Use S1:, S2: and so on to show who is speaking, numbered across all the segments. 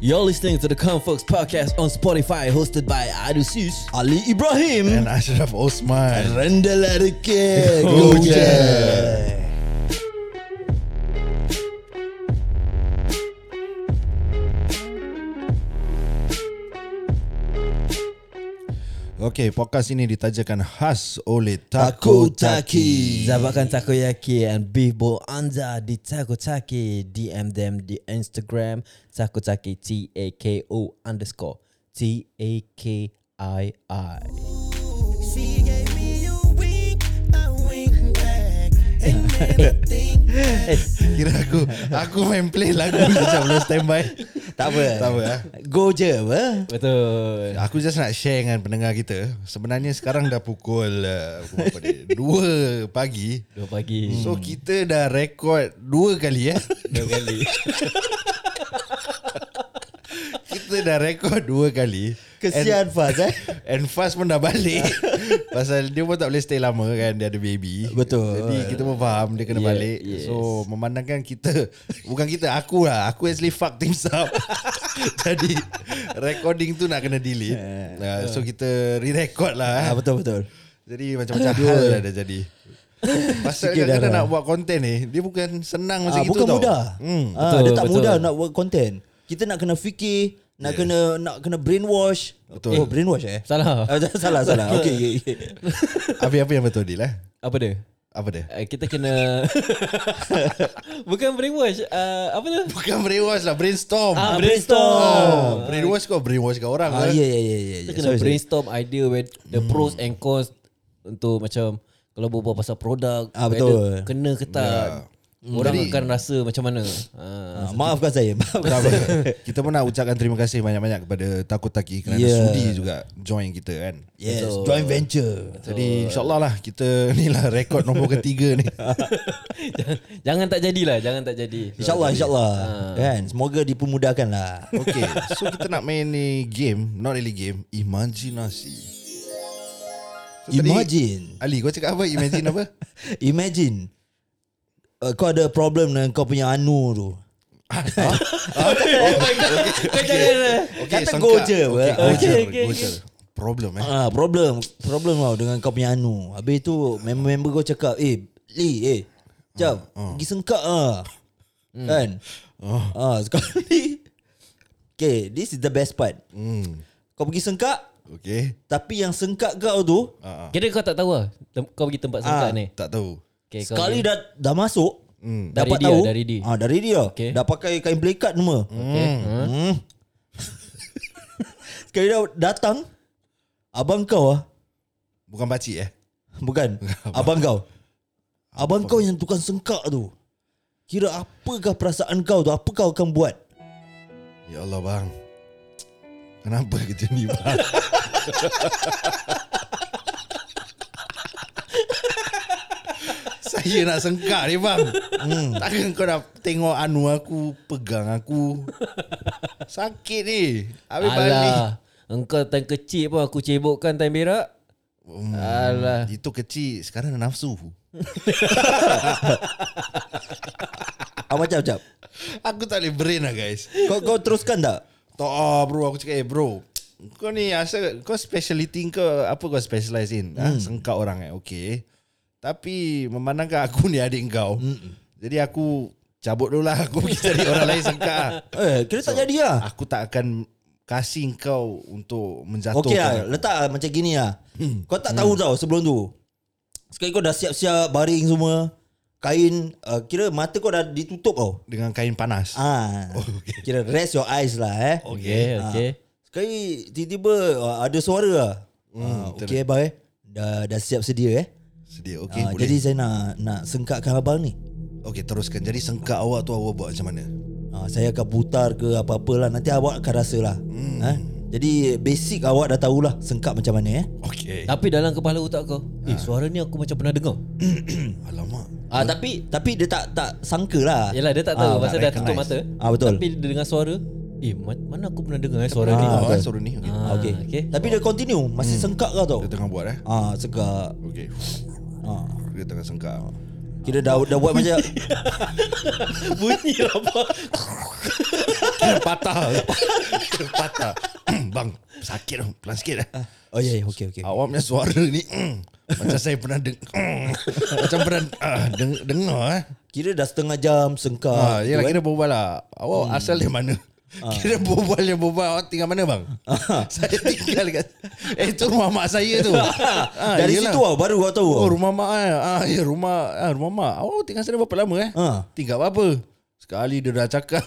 S1: You're listening to the Come Folks podcast on Spotify, hosted by Adusis, Ali Ibrahim,
S2: And Ashraf Osman
S1: Rendel Adike.
S3: Oh,
S2: Go
S1: Go
S2: je. Okay, podcast ini ditajakan khas oleh Takotaki
S1: Zabakan Takoyaki and Beef Bowl Anda di Takotaki DM them di Instagram Takotaki T-A-K-O underscore T-A-K-I-I
S4: She gave me a wink, a wink back. And made me think
S1: Eh,
S2: Kira aku Aku main play lagu Macam belum standby
S1: Tak apa
S2: Tak apa ah.
S1: Go je apa
S3: Betul.
S2: Aku just nak share dengan pendengar kita Sebenarnya sekarang dah pukul uh, pukul berapa ni? 2 pagi
S3: Dua pagi.
S2: So kita dah rekod Dua kali ya
S3: Dua kali.
S2: Kita dah rekod dua kali
S1: Kesian Faz eh
S2: And Faz pun dah balik Pasal dia pun tak boleh stay lama kan Dia ada baby
S1: Betul.
S2: Jadi kita pun faham Dia
S3: Yeah,
S2: kena yeah, balik
S3: yes.
S2: yes. So memandangkan kita Bukan kita Aku lah Aku actually fuck things up Jadi Recording tu nak kena delete uh, So kita re-record lah eh.
S1: Eh, ah, Betul betul
S2: Jadi macam-macam hal lah dah jadi Pasal
S1: Sikit
S2: kadang-kadang
S1: darah.
S2: nak buat konten ni Dia bukan senang macam
S1: Ah,
S2: itu
S1: bukan
S2: Eh, tau
S1: mudah.
S2: hmm.
S1: Ah,
S3: betul,
S1: dia tak
S3: betul.
S1: mudah nak buat content. Kita nak kena fikir, nak kena nak kena brainwash.
S2: Betul.
S1: Oh, brainwash eh?
S3: Salah.
S1: Ah, salah salah. Okey okey. Okay.
S2: Apa-apa yang betul Dil eh?
S3: Apa dia?
S2: Apa dia?
S3: Uh, kita kena Bukan brainwash uh, Apa tu?
S2: Bukan brainwash lah Brainstorm
S3: Ah,
S2: Oh,
S3: brainstorm.
S2: brainwash kau brainwash kau orang lah.
S1: Ah,
S2: ke?
S1: ya ya ya ya.
S3: Kita kena brainstorm idea with the
S1: Hmm.
S3: pros and cons untuk macam kalau berbual pasal produk
S1: Ah,
S3: whether
S1: betul.
S3: kena ke
S2: Ya.
S3: tak. Hmm. Orang akan rasa macam mana. Ah.
S1: Ah, maafkan saya.
S2: Tak
S1: Maafkan
S2: apa.
S1: saya.
S2: Kita pun nak ucapkan terima kasih banyak-banyak kepada Takutaki kerana yeah.
S1: Yeah.
S2: sudi juga join kita kan.
S1: Yes, joint venture.
S2: Jadi insyaAllah lah kita ni lah rekod nombor ketiga ni.
S3: jangan tak jadilah, jangan tak jadi.
S1: InsyaAllah, insyaAllah. Kan? Semoga dipermudahkan lah.
S2: Okay, so kita nak main ni game, not really game, imajinasi. So, tadi-
S1: Imagine.
S2: Ali, kau cakap apa? Imagine apa?
S1: Imagine. Uh, kau ada problem dengan kau punya anu tu.
S2: Ah,
S3: Kau jangan.
S1: Kata go je apa.
S2: Okay,
S1: Ah.
S2: go je,
S3: Okay, okay,
S2: go je. Problem eh.
S1: Ah, problem problem tau dengan kau punya anu. Habis tu member-member kau cakap, "Eh, Li, eh. Jom, pergi sengkak ah."
S3: Hmm.
S1: Kan? Ah, sekarang ni. Okay, this is the best part.
S2: Hmm.
S1: Kau pergi sengkak,
S2: Okay.
S1: tapi yang sengkak kau tu
S2: Ah, ah.
S3: Kira kau tak tahu lah tem- Kau pergi tempat sengkak
S1: Ah.
S3: ni
S2: Tak tahu.
S3: okay, kau
S1: sekali dah dah masuk,
S2: Hmm.
S3: Dari
S1: dapat
S3: dia,
S1: tahu.
S3: dari dia.
S1: Ah, dari dia.
S3: Okay.
S1: Dah pakai kain belikat semua.
S3: okay. huh?
S1: Hmm. sekali dah datang abang kau ah
S2: Bukan pakcik eh.
S1: Bukan Abang kau Abang kau yang tukang sengkak tu Kira apakah perasaan kau tu Apa kau akan buat
S2: Ya Allah bang Kenapa kerja ni bang Saya nak sengkak ni bang hmm. Takkan kau dah tengok anu aku Pegang aku Sakit ni Habis balik
S3: Alah Engkau time kecil pun Aku cebokkan time berak
S2: Hmm,
S3: Alah.
S2: Itu kecil Sekarang dah nafsu
S1: ah, Macam macam
S2: Aku tak boleh brain lah guys
S1: kau, kau teruskan tak
S2: Tak ah bro Aku cakap eh bro Kau ni asal Kau speciality kau Apa kau specialise in hmm. ha? Sengkak orang eh Okay Tapi Memandangkan aku ni adik kau hmm. Jadi aku Cabut dulu lah Aku pergi cari orang lain sengkak ah.
S1: Eh kira tak jadi lah
S2: Aku tak akan Kasih kau Untuk menjatuhkan
S1: Okey lah
S2: aku.
S1: Letak lah macam gini lah Kau tak tahu tau sebelum tu Sekali kau dah siap-siap Baring semua Kain uh, Kira mata kau dah ditutup tau
S2: Dengan kain panas
S1: ah, Kira rest your eyes lah eh
S3: Okay Okay
S1: Sekali tiba-tiba uh, ada suara lah ah, Okey abang eh Dah, dah siap sedia eh
S2: Sedih Okay
S1: Okay, uh,
S2: boleh
S1: jadi saya nak nak sengkakkan abang ni.
S2: Okay teruskan Jadi sengkak awak tu Awak buat macam mana
S1: Uh, saya akan putar ke apa-apalah nanti awak akan rasalah. Hmm. Ha? Jadi basic awak dah tahulah sengkak macam mana eh.
S2: Okay
S3: Tapi dalam kepala otak kau Eh suara ni aku macam pernah dengar
S2: Alamak
S1: Ah uh, tapi tapi dia tak tak sangka lah.
S3: Yelah dia tak tahu
S1: Ah,
S3: Pasal
S2: tak
S3: dah tutup
S2: recognize.
S3: mata
S1: Ah, betul.
S3: Tapi dia dengar suara Eh ma- mana aku pernah dengar eh, suara ni
S2: Ah,
S1: Ah,
S2: oh,
S1: betul.
S2: Suruh ni okay.
S3: Ah,
S1: Ah, okay.
S3: okay.
S1: okay. Tapi dia continue masih
S2: Hmm.
S1: sengkak kau tau.
S2: Dia tengah buat eh
S1: Ah sengkak.
S2: Okay
S1: Ah.
S2: Dia tengah sengkak
S1: Kira dah dah buat macam
S3: Bunyi apa
S2: Kira patah patah Patah Bang Sakit dong Pelan sikit lah
S1: Oh yeah, yeah, okay, okay.
S2: Awak punya suara ni Macam saya pernah deng Macam pernah ah, deng- dengar eh.
S1: Kira dah setengah jam sengkak.
S2: Ah,
S1: tu,
S2: yelah,
S1: eh.
S2: kira berbual lah Awak
S1: Hmm.
S2: asal dari mana
S1: Ah.
S2: Kira berbual yang berbual Awak tinggal mana bang Saya tinggal kat Eh tu rumah mak saya tu ah,
S1: Dari
S2: yelah.
S1: situ ah baru kau tahu.
S2: Oh
S1: Oh,
S2: rumah mak eh. ah, ya, rumah ah, rumah mak Awak tinggal sana berapa lama eh
S1: Ah.
S2: Tinggal apa Sekali dia dah cakap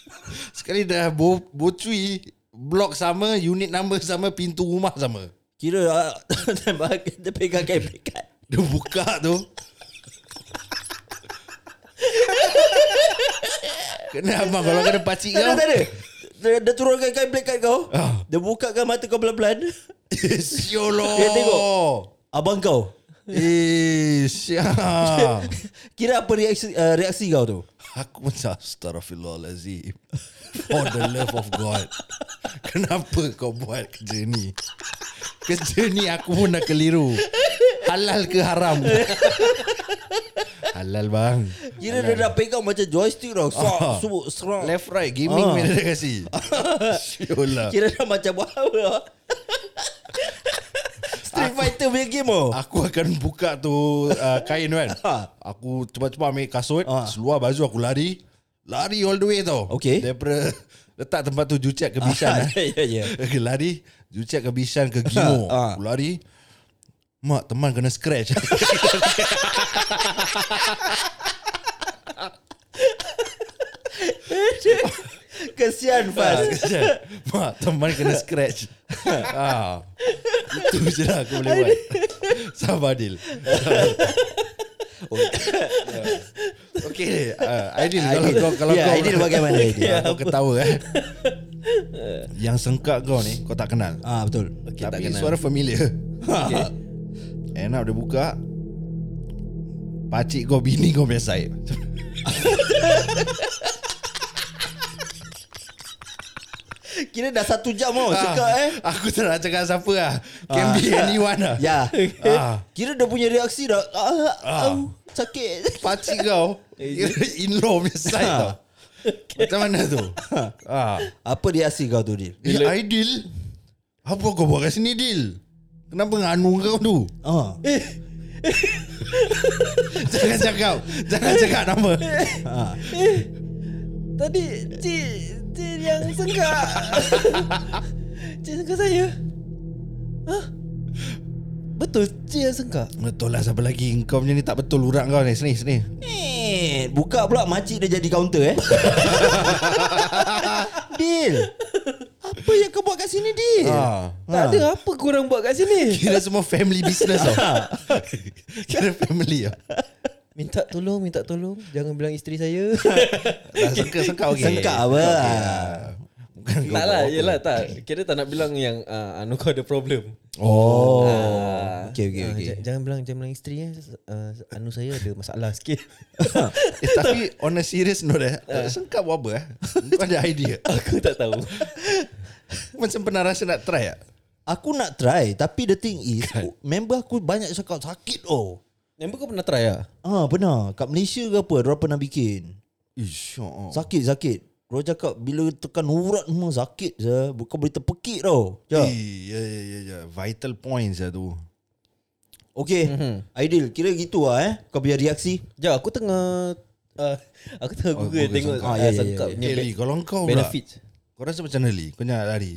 S2: Sekali dah bo bocui Blok sama Unit number sama Pintu rumah sama
S1: kira ah, dia pegang kain pekat.
S2: Dia buka tu Kena abang Kalau kena pakcik
S1: Tak ada,
S2: kau
S1: tak ada. Dia, dia turunkan kain pekat kau.
S2: Ya. Ah.
S1: Dia bukakan mata kau pelan-pelan.
S2: Siolo
S1: Dia tengok. Abang kau.
S2: Eh syah
S1: Kira apa reaksi uh, reaksi kau tu?
S2: Aku macam Astaghfirullahalazim For the love of God Kenapa kau buat kerja ni Kerja ni aku pun dah keliru Halal ke haram Halal bang
S1: Kira dia dah pegang macam joystick tau. Sok,
S2: Ah.
S1: sebut, serang.
S2: Left right gaming
S1: Ah.
S2: mana dia kasi Syulah
S1: Kira dah macam buat apa tau. Street Fighter punya game tau.
S2: Aku akan buka tu uh, kain tu kan
S1: Ha.
S2: Aku cepat-cepat ambil kasut
S1: Ha.
S2: Seluar baju aku lari Lari all the way tau
S1: Okay.
S2: Daripada Letak tempat tu Jucek ke Bishan
S1: Ya, ya, ya.
S2: Aku lari Jucek ke Bishan ke Gimo
S1: Ha.
S2: Aku lari Mak teman kena scratch Ah,
S1: Kesian Faz.
S2: kesian. Mak teman kena scratch ha. Itu je lah aku boleh buat Sabar Adil Okay uh, Aidil Kalau
S1: Aidil.
S2: kau kalau
S1: Ya,
S2: kau,
S1: Aidil bagaimana, Aidil?
S2: Ah, Kau ketawa eh Yang sengkak kau ni Kau tak kenal
S1: Ah betul. Ah,
S2: okay,
S3: tak
S2: Tapi
S3: kenal.
S2: suara familiar okay. End up dia buka Pakcik kau bini kau punya side
S1: Kira dah satu jam
S2: Ah.
S1: tau Suka eh Ah.
S2: Aku tak nak cakap siapa lah Can be anyone lah
S1: Ya
S2: Ah.
S1: Kira dia punya reaksi dah ah, ah. au, Sakit
S2: Pakcik kau In-law punya side tau Macam mana tu ah.
S1: Apa reaksi kau tu Dil?
S2: Eh Aidil Apa kau buat kat sini Dil Kenapa nganu kau tu
S1: Ah.
S2: Jangan cakap Jangan cakap nama Ha.
S3: Tadi cik cik yang sengkak. cik sengkak saya. Hah? Betul cik yang sengkak.
S2: Betul lah siapa lagi Kau punya ni tak betul urat kau ni Sini sini
S1: Eh, buka pula makcik dia jadi counter eh. Dil. Apa yang kau buat kat sini Dil?
S2: ah.
S3: Tak ada apa korang buat kat sini.
S2: Kira semua family business tau Kira family lah
S3: Minta tolong, minta tolong. Jangan bilang isteri saya.
S2: Dah sengkak-sengkak okay.
S1: Sengkak apa?
S2: Okay lah. Bukan kau
S3: tak
S2: buat
S3: lah,
S2: apa.
S3: yelah tak. Kira tak nak bilang yang uh, anu kau ada problem.
S1: Oh.
S3: Ah.
S1: Okey okey
S3: Ah,
S1: okey.
S3: j- Jangan bilang jangan bilang isteri eh. Uh, anu saya ada masalah sikit.
S2: eh, Tapi on a serious note eh Sengkak buat apa eh Kau ada idea
S3: Aku tak tahu.
S2: Macam pernah rasa nak try tak
S1: Aku nak try tapi the thing is member aku banyak cakap sakit oh.
S3: Member kau pernah try ah?
S1: Ah, benar. Kat Malaysia ke apa, dia pernah bikin.
S2: Ish, oh.
S1: Sakit sakit Kau cakap bila tekan urat semua sakit je Bukan boleh terpekik tau
S2: Ya,
S1: Ya
S2: ya, ya, ya. Vital points lah tu.
S1: Okay Aidil kira gitu lah eh Kau punya reaksi
S3: Ya, aku tengah uh, aku tengah
S2: Oh,
S3: Google
S2: Google
S3: tengok
S1: sengkak.
S3: ah,
S1: Ah, ya, ya,
S3: sengkak
S1: ya, ya.
S3: punya
S2: Okay, Lee,
S3: be-
S2: kalau kau pula,
S3: benefit.
S2: kau rasa macam mana, Lee? Kau jangan lari.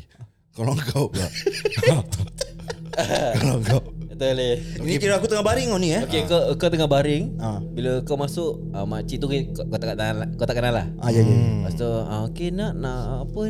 S2: Kalau kau pula. kalau kau.
S3: Tak boleh.
S1: Ini kira aku tengah baring kau ni eh
S3: ya. Okay, kau, kau tengah baring.
S1: Ah.
S3: Bila kau masuk, uh, makcik tu kau, kau tak kenal kau tak kenal lah.
S1: Ah ya ya
S3: Lepas tu, ah, okay nak nak apa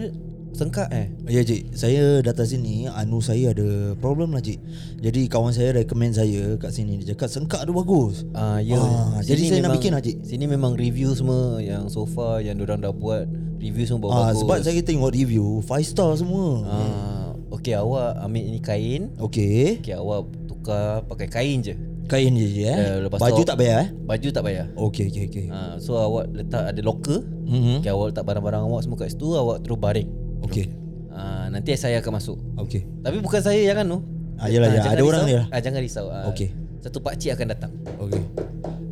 S3: sengkak eh.
S1: Ya cik Saya datang sini Anu saya ada problem lah cik Jadi kawan saya recommend saya kat sini Dia cakap sengkak tu bagus
S3: Ah, ya.
S1: Ah, jadi
S3: Sini
S1: saya nak
S3: memang-
S1: bikin lah, Cik.
S3: Sini memang review semua yang sofa yang orang dah buat, review semua
S1: ah,
S3: Oh, bagus.
S1: Sebab saya tengok review 5 star semua
S3: ah, okay awak ambil ni kain.
S1: Okay
S3: Okay awak tukar pakai kain je.
S1: Kain je je eh
S3: Eh, lepas tu
S1: Baju
S3: awak-
S1: tak payah eh
S3: Baju tak payah.
S1: Okay okay okay
S3: Ah, so awak letak ada locker.
S1: Mhm.
S3: Okay, awak letak barang-barang awak semua kat situ, awak terus baring.
S1: Okay
S3: Ah, nanti saya akan masuk.
S1: Okay
S3: Tapi bukan saya jangan tu.
S1: Ah, yelah, yelah. Ada orang dia lah.
S3: Ah, jangan risau. Ah,
S1: Okey.
S3: Satu pak cik akan datang.
S1: Okay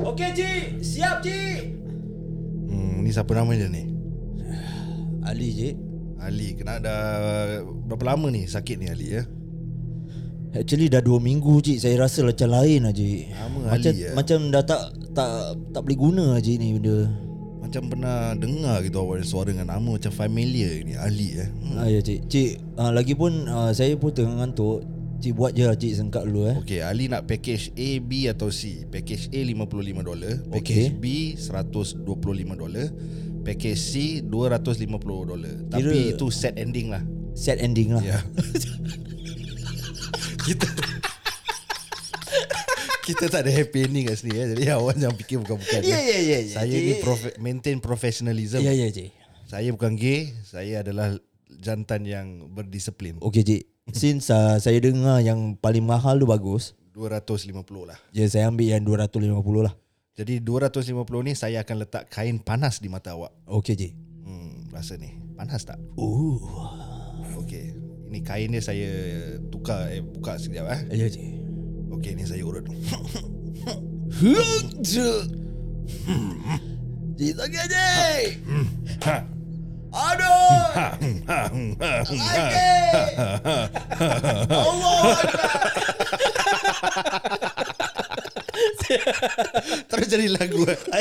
S3: Okey cik, siap cik.
S2: Hmm, ni siapa nama dia ni?
S1: Ali cik
S2: Ali kena dah berapa lama ni sakit ni Ali ya?
S1: Actually dah 2 minggu cik Saya rasa macam lain lah cik
S2: Lama
S1: Macam,
S3: eh.
S2: Ali, ya.
S1: macam dah tak tak tak boleh guna lah cik ni benda
S2: Macam pernah dengar gitu awak punya suara dengan nama macam familiar ni Ali eh. Hmm.
S1: ah, ya cik Cik ah, Lagipun ah, saya pun tengah ngantuk Cik buat je lah cik sengkak dulu eh
S2: Okay Ali nak package A, B atau C Package A $55 Package B
S1: Okey.
S2: $125 Package C $250 Tapi
S1: Kira-
S2: itu set ending lah
S1: Sad ending lah
S2: Ya. kita kita tak ada happy ending kat sini ya. Jadi awak jangan fikir bukan-bukan.
S1: Ya, ya, ya, ya.
S2: Saya ni profe- maintain professionalism.
S1: Ya ya cik
S2: Saya bukan gay, saya adalah jantan yang berdisiplin.
S1: Okay cik Since ah, saya dengar yang paling mahal tu bagus
S2: 250 lah.
S1: Ya saya ambil yang 250 lah
S2: Jadi 250 ni saya akan letak kain panas di mata awak.
S1: Okay cik
S2: Hmm, rasa ni. Panas tak?
S1: Ooh.
S2: Uh. Okey. Ini kain ni saya tukar eh buka sekejap eh.
S1: Ya cik
S2: Okey, ni saya urut.
S1: Cik sakit cik
S2: Terus jadi lagu. eh.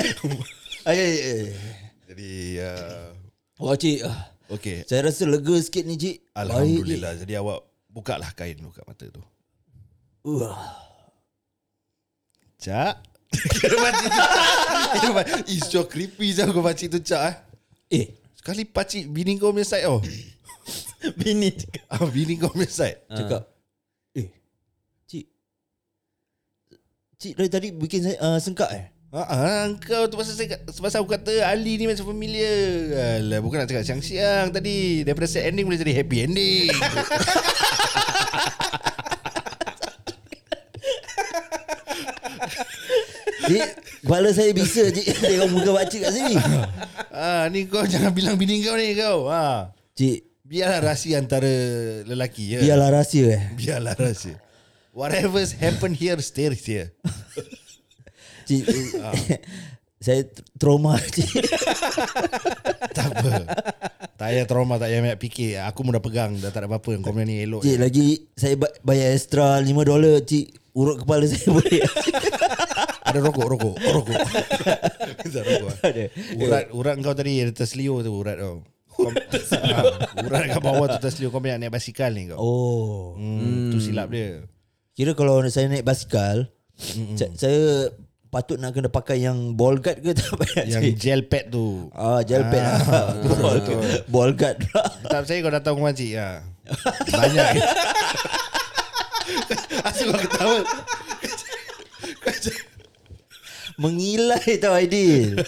S1: Ay, ay, ay.
S2: jadi uh,
S1: ya, Wah cik ah,
S2: okey.
S1: Saya rasa lega sikit ni cik
S2: Alhamdulillah. Jadi awak buka lah kain tu kat mata tu.
S1: Baik, cik. Wah.
S2: Cak. Kira pakcik tu cak. Ih, so creepy je kau pakcik tu cak eh.
S1: Eh
S2: Sekali pakcik bini kau punya side tau.
S3: Bini cakap.
S2: Ah, bini kau punya side.
S1: Cakap
S2: Ah.
S1: Eh Cik Cik dari tadi bikin saya uh, sengkak eh
S2: Ah, ah, kau tu pasal saya pasal aku kata Ali ni macam familiar. Alah, bukan nak cakap siang-siang tadi. Daripada set ending boleh jadi happy ending.
S1: Cik Kepala saya bisa cik Tengok muka pakcik kat sini
S2: ah, ni kau jangan bilang bini kau ni kau. Ah.
S1: Cik
S2: Biarlah rahsia antara lelaki ya.
S1: Biarlah rahsia eh
S2: Biarlah rahsia. Whatever's happen here stays here.
S1: Cik eh, Saya tr- trauma cik
S2: tak apa. Tak payah trauma, tak payah banyak fikir. Aku pun dah pegang, dah tak ada apa-apa. Kau punya ni elok.
S1: Cik lagi Saya ba- bayar extra 5 dolar cik Urut kepala saya boleh
S2: Ada rokok, rokok, oh, rokok. Ada rokok. eh.
S1: Ada.
S2: Urat, urat kau tadi ada terselio tu urat kau. Kau- Ah, urat kat bawah tu terselio kau punya naik basikal ni kau.
S1: Oh
S2: Hmm, tu silap dia.
S1: Kira kalau saya naik basikal sa- Saya Patut nak kena pakai yang ball guard ke tak payah
S2: Yang
S1: cik
S2: gel pad tu.
S1: Ah, gel pad ah, ball, ball guard pula
S2: Tak percaya kau datang rumah cik ha. Banyak Asal kau ketawa
S1: Mengilai tau Aidil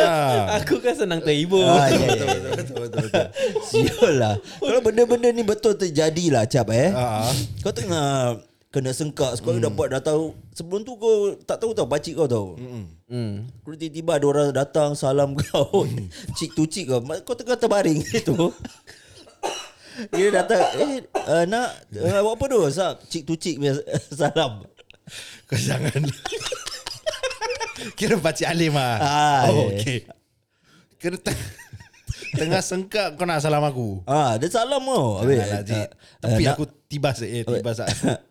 S2: ha.
S3: Aku kan senang terhibur.
S1: ah, ya, ya, ya. Siul lah Kalau benda-benda ni betul terjadi lah Cap eh
S2: Ah. Hmm.
S1: Kau tengah Kena sengkak Sekolah dapat dah tahu Sebelum tu kau Tak tahu tau Pakcik kau tau
S3: Hmm.
S1: Kalau tiba-tiba ada orang datang Salam kau
S2: Hmm.
S1: Cik tu cik kau Kau tengah terbaring Itu Dia datang Eh uh, nak uh, Buat apa tu Sab, Cik tu cik punya Salam
S2: Kau jangan Kira pakcik alim lah
S1: Ah,
S2: Oh
S1: ya.
S2: okay Kira teng- Tengah sengkak kau nak salam aku
S1: Ah, dia salam tau Habis
S2: Alah,
S1: eh,
S2: lah, cik.
S1: eh,
S2: Tapi
S1: nak-
S2: aku tibas eh Tibas lah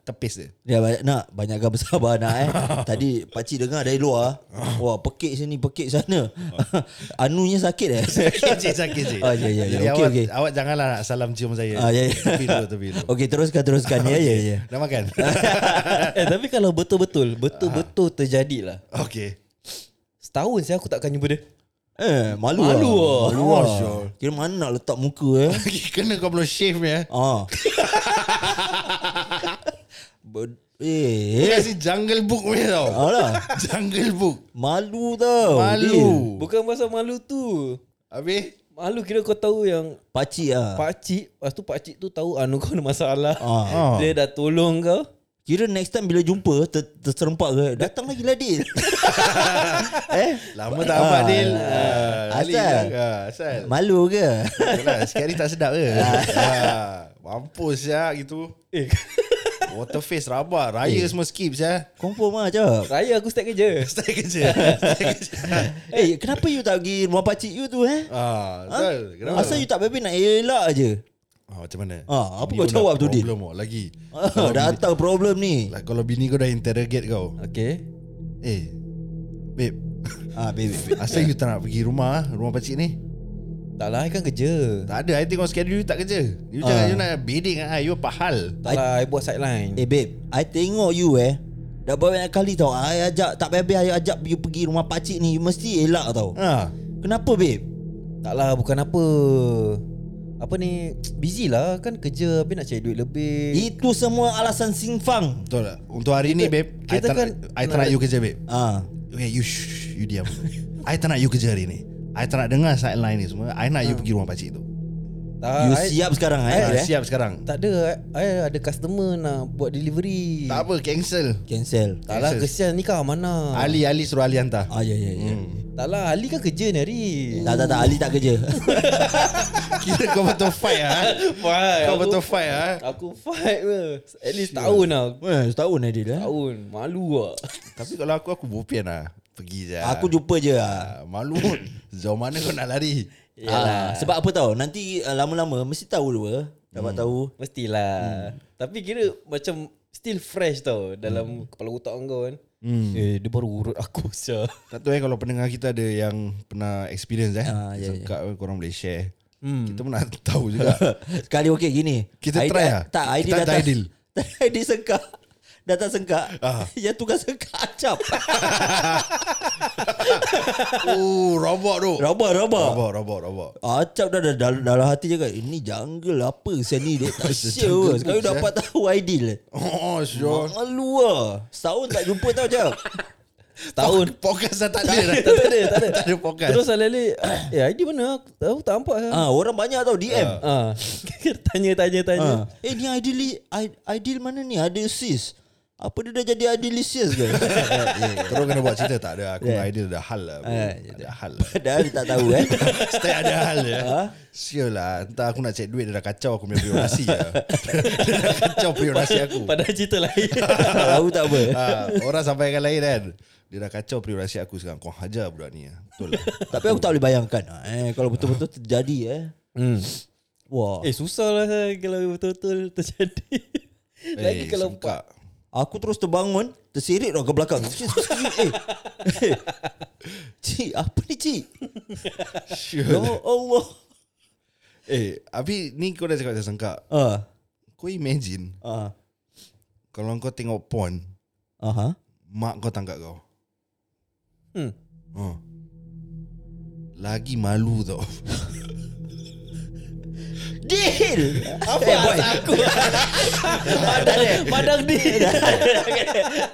S2: Tepis dia
S1: Ya banyak nak banyakkan bersabar nak eh. Tadi pak cik dengar dari luar. Wah, pekik sini, pekik sana. Anunya sakit eh.
S2: Sakit cik sakit cik
S1: Ah, ya, ya, ya.
S2: Jadi
S1: Okey,
S2: awak,
S1: okey.
S2: awak janganlah nak salam cium saya
S1: Ah, ya, ya.
S2: Tepi dulu tepi dulu
S1: Okey, teruskan teruskan ya ya ya.
S2: Dah makan?
S3: eh, tapi kalau betul-betul, betul-betul terjadi lah.
S2: okay
S3: Setahun saya aku takkan jumpa dia.
S1: Eh, malu
S3: Malu ah.
S1: Malu ah. Kira mana nak letak muka eh.
S2: Kena kau belum shave ya
S1: Ah. Ber- eh.
S2: Dia kasi jungle book punya tau
S1: Alah, Oh,
S2: Jungle book
S1: malu tau. Ah.
S2: Malu
S3: Bukan pasal malu tu.
S2: Habis
S3: Malu kira kau tahu yang
S1: Pakcik ah.
S3: pakcik, lepas tu pakcik tu tahu anu kau ada masalah.
S1: Ah.
S3: Dia dah tolong kau.
S1: Kira next time bila jumpa ter- terserempak ke datang lagi lah Dil. eh?
S2: Lama tak apa Adil
S1: Ah,
S2: Ali
S1: asal.
S2: ah, Asal
S1: Malu ke?
S2: eh. Yalah, Sekali tak sedap ke Ah, Mampus ya Ah, gitu
S3: Eh,
S2: Water face rabak
S1: Eh.
S2: Raya semua skip saya
S1: Confirm lah jap
S3: Raya aku start kerja.
S2: Stay kerja Stay kerja
S1: Eh kenapa you tak pergi rumah pakcik you tu eh
S2: Ah,
S1: Ha?
S2: Zal, kenapa?
S1: Asal you tak baby nak elak je
S2: Ah, macam mana?
S1: Ah, apa
S2: Bini
S1: kau
S2: nak
S1: jawab tu, Din?
S2: Problem oh, lagi.
S1: ah, Datang problem ni
S2: Lah, kalau bini kau dah interrogate kau.
S3: Okay.
S2: Eh, babe,
S1: Ah, baby, baby.
S2: asal you tak nak pergi rumah ah, rumah pakcik ni?
S3: Tak lah, I kan kerja.
S2: Tak ada, I tengok schedule you tak kerja. You jangan you nak bidding ah, you apa hal?
S3: Tak lah, I buat sideline.
S1: Eh babe I tengok you eh Dah banyak kali tau I ajak Tak payah I ajak you pergi rumah pakcik ni You mesti elak tau
S2: Ha.
S1: Kenapa babe
S3: Tak lah, bukan apa. Apa ni, busy lah kan kerja. Habis nak cari duit lebih.
S1: Itu semua alasan singfang
S2: Betul tak? Untuk hari ni, babe, I
S3: kita
S2: tak
S3: kan-
S2: nak- I tak nak you kerja, babe.
S1: Ah,
S2: Okay, you shh, you diam. I tak nak you kerja hari ni. I tak nak dengar sideline ni semua. I nak you pergi rumah pakcik tu.
S3: Tak,
S1: You
S3: I,
S1: siap sekarang Ah. eh,
S2: Ha,
S1: eh?
S2: siap sekarang.
S3: tak ada. I, I ada customer nak buat delivery.
S2: Tak apa, cancel.
S1: Cancel
S3: tak lah, kesian nikah mana.
S2: Ali, Ali suruh Ali hantar.
S1: Ah ya ya ya
S3: Tak lah, Ali kan kerja ni hari.
S1: Tak tak tak Ali tak kerja
S2: Kira kau betul fight ah.
S3: Fight.
S2: Kau
S3: Aku-
S2: betul fight ah.
S3: Aku fight lah. At least tahun lah.
S1: Eh setahun eh dia
S3: Tahun. Malu lah.
S2: Tapi kalau aku aku bopian lah. Pergi je.
S1: Aku jumpa je lah
S2: Ah, malu pun. Jauh mana kau nak lari?
S1: ah, Sebab apa tau Nanti ah, lama-lama Mesti tahu dua Dapat tahu
S3: Mestilah. Tapi kira macam still fresh tau dalam kepala otak kau kan.
S1: Hmm.
S3: Eh, dia baru urut aku sia.
S2: Tak tahu eh kalau pendengar kita ada yang pernah experience eh. Ah,
S1: Ah, ya,
S2: yeah, yeah. korang boleh share. Kita pun nak tahu juga.
S1: Sekali okey gini
S2: Kita
S1: Aidil-
S2: try lah.
S1: Tak Aidil
S2: Kita hantar
S1: datang
S2: Aidil.
S1: Aidil sengkak Datang sengkak
S2: Ah.
S1: Yang tukar sengkak acap
S2: oh, robot tu.
S1: Rabak rabak
S2: Robot, robot, robot.
S1: Acap dah dah- dah- dalam hati je kan Ini jungle apa Sian ni dia tak
S2: Jungle
S1: sure Sekarang
S2: boots, eh.
S1: dapat tahu Aidil
S2: Oh, sure.
S1: Malu lah Setahun tak jumpa tau Jap
S3: Tahun.
S2: Podcast dah tak ada. dah.
S3: tak ada, tak ada.
S2: tak ada podcast.
S3: Terus alele, eh ID mana? Aku tahu tak nampak kan.
S1: ah, Orang banyak tau DM
S3: Ah.
S1: ah.
S3: tanya tanya tanya.
S1: Ah. Eh ni Aidil li- I- Aidil mana ni Ada sis Apa dia dah jadi Aidil sis ke
S2: Ya, Terus kena buat cerita tak ada. Aku
S1: Yeah.
S2: yeah. idea dah hal lah. bro.
S1: Ah,
S2: ada hal lah.
S1: Padahal dia tak tahu eh
S2: Stay ada hal ya.
S3: Ha?
S2: Sure lah. Entah aku nak cek duit dia dah kacau aku punya priorasi lah. dia dah kacau priorasi aku.
S3: Padahal cerita lain.
S1: Tak tahu tak apa
S2: ha, orang sampaikan lain kan. Dia dah kacau priorasi aku sekarang. Kau hajar budak ni. Betul lah.
S1: Tapi aku tak boleh bayangkan eh, Kalau betul-betul terjadi eh
S3: hmm.
S1: Wah
S3: Eh susah lah saya kalau betul-betul terjadi. Lagi
S2: Eh,
S3: kalau
S2: sengkak.
S1: Aku terus terbangun Tersirit tau ke belakang Eh eh. Cik apa ni cik
S2: Sure.
S1: Ya Allah
S2: Eh, Abi ni kau dah cakap pasal sengkak.
S1: Ah,
S2: Kau imagine
S1: ah,
S2: kalau kau tengok porn,
S1: Aha.
S2: mak kau tangkap kau.
S3: Hmm.
S2: Ha. Lagi malu tau.
S1: Deal
S3: Apa eh, boy. aku? Padang, padang dia.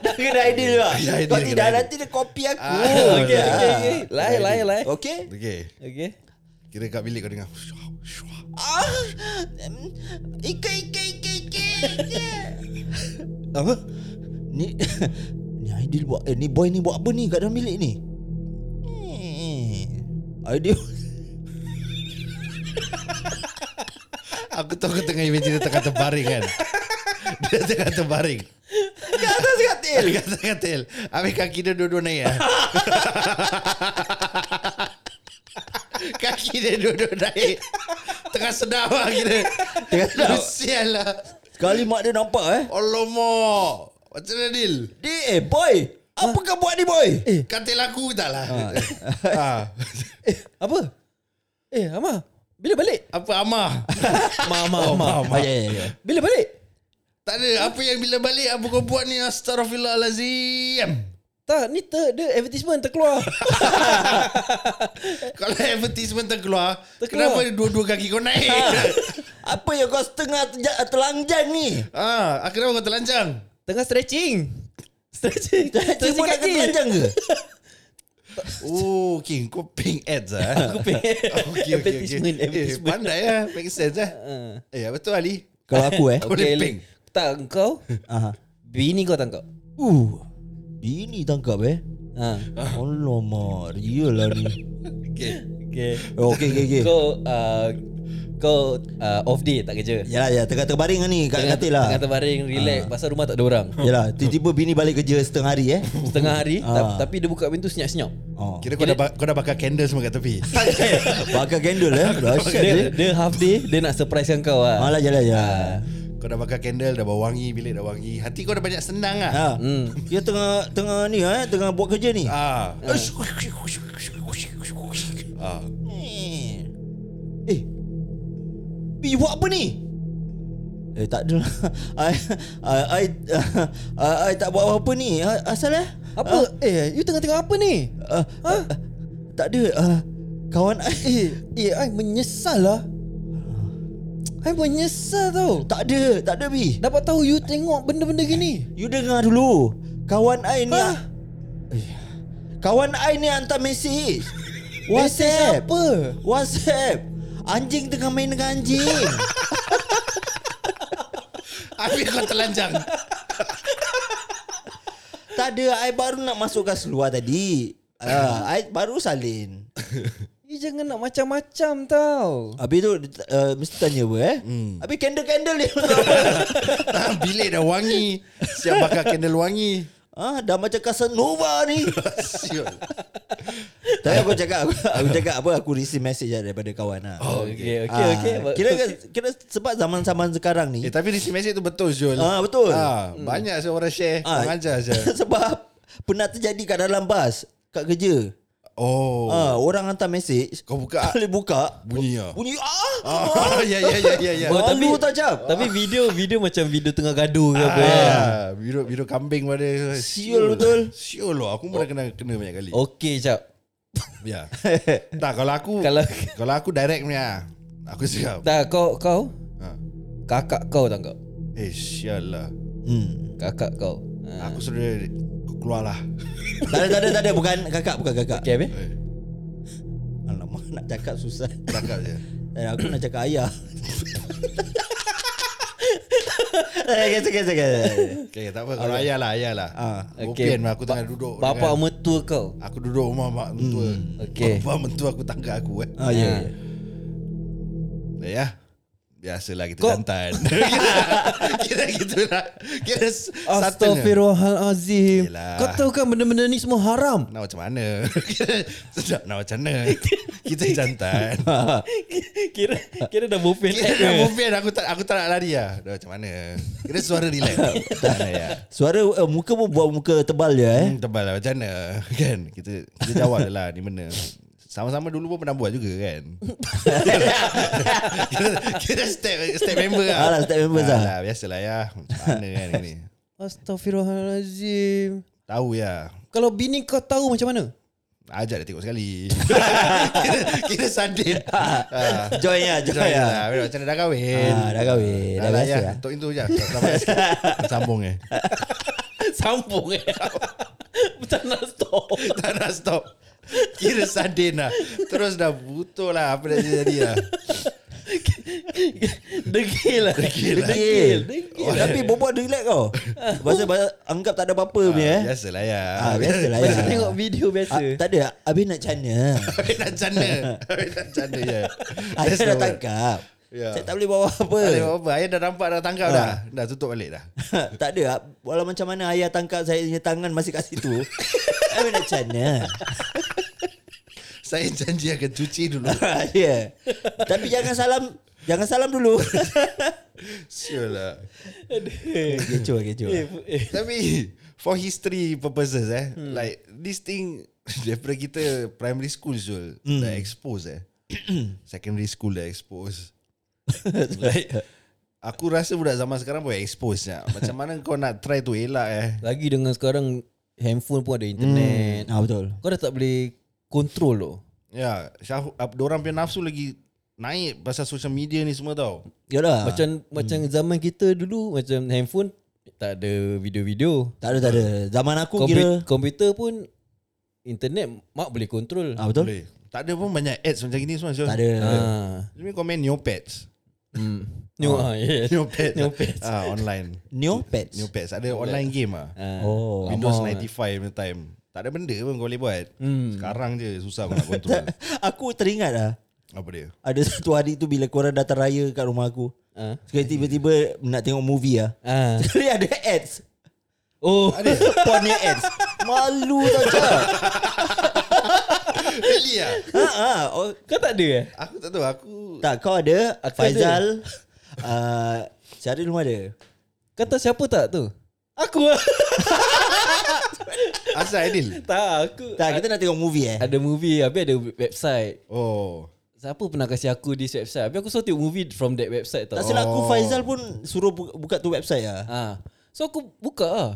S1: Dah kena idea juga
S2: Ya, idea
S1: Kau
S2: kena
S1: tidak
S2: idea.
S1: nanti dia copy aku
S2: Ah,
S3: okay,
S1: Ah.
S3: okay, okay. Lai, lai, lai.
S1: Okay
S2: Okay.
S3: Okay.
S2: Kira kat bilik kau dengar. Syuah, syuah.
S1: Ah, em, Ika ika ika ika ika. Apa? Ni Ni Aidil buat eh, Ni boy ni buat apa ni Kat dalam bilik ni Hmm. Aidil
S2: Aku tahu kau tengah imagine dia tengah terbaring kan. Dia tengah terbaring.
S1: Kat atas katil
S2: Dia kata katil. Habis kaki dia dua-dua naik lah. kaki dia dua-dua naik. Tengah sedap lah kira.
S1: Tengah sedap.
S2: Lu Sial lah.
S1: Sekali mak dia nampak eh
S2: Alamak. Macam mana Dil?
S1: Dia eh boy Apa kau buat ni boy
S3: Eh.
S2: Katil aku tak lah.
S1: Ah.
S2: Ha.
S3: Eh, apa? Eh, Amar. Bila balik?
S2: Apa Amar?
S3: Mama,
S2: Oh,
S3: Amar.
S2: Amar.
S1: Ah, ya, ya, ya.
S3: Bila balik?
S2: tak ada. Apa yang bila balik apa kau buat ni? Astaghfirullahalazim.
S3: Tak, ni ter, dia advertisement terkeluar.
S2: Kalau advertisement terkeluar,
S3: Terkeluar.
S2: terkeluar. Ha. kenapa dua-dua kaki kau naik?
S1: Apa yang kau setengah terja- terlanjang ni
S2: Ah, ha. kenapa kau terlanjang?
S3: Tengah stretching. Stretching.
S1: Cik nak
S3: kaki.
S1: terlanjang ke
S2: Oh, okay. Kau ping ads lah.
S3: Aku pengen.
S2: okay, okay,
S3: Advertisement,
S2: okay. Eh,
S3: advertisement.
S2: pandai lah. Make sense lah.
S3: Ah.
S2: Eh, apa tu Ali?
S1: Kalau aku eh
S2: Kau boleh
S3: Okay,
S2: ping.
S3: Lin. Tak, kau.
S1: Aha.
S3: Bini kau tangkap.
S1: Uh Bini tangkap eh
S3: Ha.
S1: Alamak Real lah ni
S2: Okay.
S3: Okay.
S1: Oh, okay, okay, okay.
S3: Kau uh, kau uh, off day tak kerja.
S1: Yalah, ya, tengah terbaring kan ni kat katil lah.
S3: Tengah terbaring relax ha. pasal rumah tak ada orang.
S1: Yalah, tiba-tiba bini balik kerja setengah hari eh.
S3: Setengah hari ha.
S1: Ah.
S3: tapi dia buka pintu senyap-senyap.
S1: Oh.
S2: Kira kau dah, ba- kau dah bakar candle semua kat tepi
S1: Bakar candle eh. Dahsyat
S3: Dia,
S1: dia.
S3: dia half day dia nak surprisekan kau lah.
S1: Malah jalan ya.
S2: Kau dah bakar candle Dah bau wangi Bilik dah wangi Hati kau dah banyak
S3: Ah.
S2: senang lah
S1: Ha.
S3: Hmm.
S1: Dia tengah tengah ni eh, tengah buat kerja ni.
S2: Ah. Ah.
S1: Eh. Eh. Bi, you buat apa ni? Eh tak ada lah. I, I, I, I, I tak buat apa-apa ni. Ah, Asal eh?
S3: Apa? Eh, you tengah tengok apa ni? Ha?
S1: Ah, ah, ah, tak ada. ah, kawan I.
S3: Eh, eh, I menyesal lah. I menyesal tau.
S1: Ah. Tak ada. Tak ada Bi.
S3: Dapat tahu you tengok benda-benda gini.
S1: You dengar dulu. Kawan I ni.
S3: Ha?
S1: Eh, Kawan I ni hantar mesej.
S3: Mesej
S1: WhatsApp.
S3: apa?
S1: WhatsApp. Anjing tengah main dengan anjing.
S2: Habis kau telanjang
S1: tak ada. I baru nak masukkan seluar tadi. Ah, I baru salin.
S3: You jangan nak macam-macam tau.
S1: Habis tu uh, Mesti tanya apa eh hmm. Habis candle-candle dia
S2: Ah, Bilik dah wangi Siap bakar candle wangi
S1: ah, Dah macam Casanova ni
S2: Sial.
S1: Tapi aku cakap Aku, aku cakap apa Aku receive message lah daripada kawan lah
S3: Oh, okay, okay,
S1: Ah,
S3: okay. okay.
S1: Kira kira sebab zaman-zaman sekarang ni
S2: Eh tapi receive message tu betul Zul
S1: Ah, betul.
S2: ah, Banyak saya orang share
S1: ah,
S2: Kau ajar je
S1: Sebab Pernah terjadi kat dalam bas Kat kerja
S2: Oh
S1: ah, Orang hantar message
S2: Kau buka. ah,
S1: Boleh buka
S2: Bunyi lah
S1: Bunyi ah,
S2: ah, Ya ya ya ya, ya.
S1: Malu
S3: But- tapi-
S1: tak cap
S3: Tapi video video macam video tengah gaduh ke apa ya.
S2: Ah, biru biru kambing pada
S1: Siul betul. Oh.
S2: Siul lah Aku pun dah kena kena banyak kali
S3: Okey cap.
S2: Ya. tak kalau aku kalau
S3: Kalau-
S2: kalau aku direct punya. Aku siap.
S3: Tak kau kau
S2: Ha.
S3: kakak kau tak kau?
S2: Eh sial lah.
S1: hmm.
S3: Kakak kau. Ha.
S1: Ah.
S2: Aku sudah kau keluarlah.
S1: tak, ada, tak ada tak ada Bukan kakak Bukan kakak
S3: Okey habis?
S2: lah. Eh,
S1: Alamak nak cakap susah
S2: Cakap je.
S1: Eh, aku nak cakap ayah. Eh, Kesa, kesa, kesa.
S2: Okay, tak apa. Kalau ayah lah, ayah lah.
S1: Ah,
S2: Bopian lah, aku tengah duduk.
S3: Bapa
S2: dengan,
S3: mertua kau.
S2: aku duduk rumah mak mentua.
S1: Hmm,
S3: Okey.
S2: Bapa mentua aku tangga aku eh.
S1: Ah, ya. ya.
S2: Ya. ya. Biasalah kita
S3: Kau-
S2: jantan. kira, kira gitu lah. Kira s- satu je.
S3: Astaghfirullahalazim.
S2: Yelah.
S3: Kau tahu kan benda-benda ni semua haram.
S2: Nak macam mana? Kira- Sedap nak macam mana? Kita jantan.
S3: kira kira dah bopel.
S2: Kira dah bopian aku tak aku tak nak lari lah. Dah macam mana? Kira suara relax. tak nak ya.
S1: Suara uh, muka pun buat muka tebal je eh.
S2: Hmm, tebal lah macam mana? Kan kita kita jawab je lah ni benda. Sama-sama dulu pun pernah buat juga kan. kita, kita step step member lah.
S1: Alah, step members lah.
S2: Alah, biasalah ya. Macam mana kan ni.
S3: Astaghfirullahalazim.
S2: Tahu ya.
S3: Kalau bini kau tahu macam mana?
S2: Ajak dia tengok sekali. kira, kira sadin. Ha.
S1: Join ya, join
S2: Join
S1: ya.
S2: lah. Macam mana dah kahwin?
S1: Ah, dah kahwin. Dah
S2: lah,
S1: biasa
S2: ya.
S1: lah.
S2: Untuk itu je. Selamat sikit. Sambung eh.
S3: Sambung eh. tak nak stop.
S2: Tak nak stop Kira sardin lah Terus dah butuh lah Apa dah jadi lah
S3: Degil lah. Degil.
S2: lah.
S3: Degil.
S1: Oh, tapi bobot relax kau. Pasal pasal anggap tak ada apa-apa punya eh.
S2: Biasalah ya
S1: Ah, biasalah ya.
S3: Biasa tengok video biasa.
S1: Ah, tak ada. Habis nak cana.
S2: Habis nak cana Habis nak cana ya
S1: Ayah dah tangkap.
S2: Ya.
S1: Saya tak boleh bawa apa. Ah.
S2: apa Ayah dah nampak dah tangkap dah Dah tutup balik dah
S1: tak ada. Walau macam mana ayah tangkap saya punya tangan masih kat situ. Habis nak cana.
S2: Saya janji akan cuci dulu
S1: ya. Yeah. Tapi jangan salam jangan salam dulu.
S2: Sure lah
S1: kecoh kecoh.
S3: Eh, eh.
S2: Tapi For history purposes eh
S1: Hmm.
S2: Like This thing Daripada kita Primary school Zul
S1: Hmm.
S2: Dah expose eh Secondary school dah expose Like Aku rasa budak zaman sekarang pun expose ya. Macam mana kau nak try tu elak eh
S3: Lagi dengan sekarang handphone pun ada internet.
S1: Ah betul.
S3: Kau dah tak boleh kontrol loh.
S2: Ya Syah, ap- Diorang punya nafsu lagi Naik pasal social media ni semua tau
S1: Yalah.
S3: Macam macam zaman kita dulu macam handphone tak ada video-video.
S1: tak ada tak ada. Zaman aku kira
S3: Kompu- komputer pun internet mak boleh kontrol.
S1: ah betul.
S2: Boleh Tak ada pun banyak ads macam gini semua Syul
S1: Tak ada.
S3: Ah.
S2: Jadi komen Neopets
S3: Hmm. New ah, yes.
S2: Neopets
S3: Neopets.
S2: ah, Online
S1: Neopets.
S2: Neopets Ada online game ah.
S3: Ah.
S1: Oh.
S2: Windows
S3: Lama. Hmm.
S2: 95 punya time Tak ada benda pun kau boleh buat Sekarang je susah kau nak kontrol
S1: Aku teringat lah
S2: Apa dia
S1: Ada satu hari tu Bila korang datang raya Kat rumah aku
S3: Ah.
S1: Sekali tiba-tiba Nak tengok movie lah
S3: Ah.
S1: Sekali ada ads
S3: Oh,
S1: Porn punya ads Malu tak cakap
S2: Really lah
S1: ha, ha. Oh,
S3: Ah, kau tak ada eh?
S2: Aku tak tahu Aku
S1: Tak kau ada
S3: Aku
S1: Faizal uh, Syaril pun ada
S3: Kata siapa tak tu? Aku lah.
S2: Asal Aidil
S3: tak, aku.
S1: Tak kita nak tengok movie eh
S3: Ada movie, habis ada website.
S2: Oh
S3: Siapa pernah kasih aku this website? Habis aku selalu tengok movie from that website tau.
S1: Tak silap aku Faizal pun Suruh bu- buka tu website lah
S3: Ha. So aku buka lah.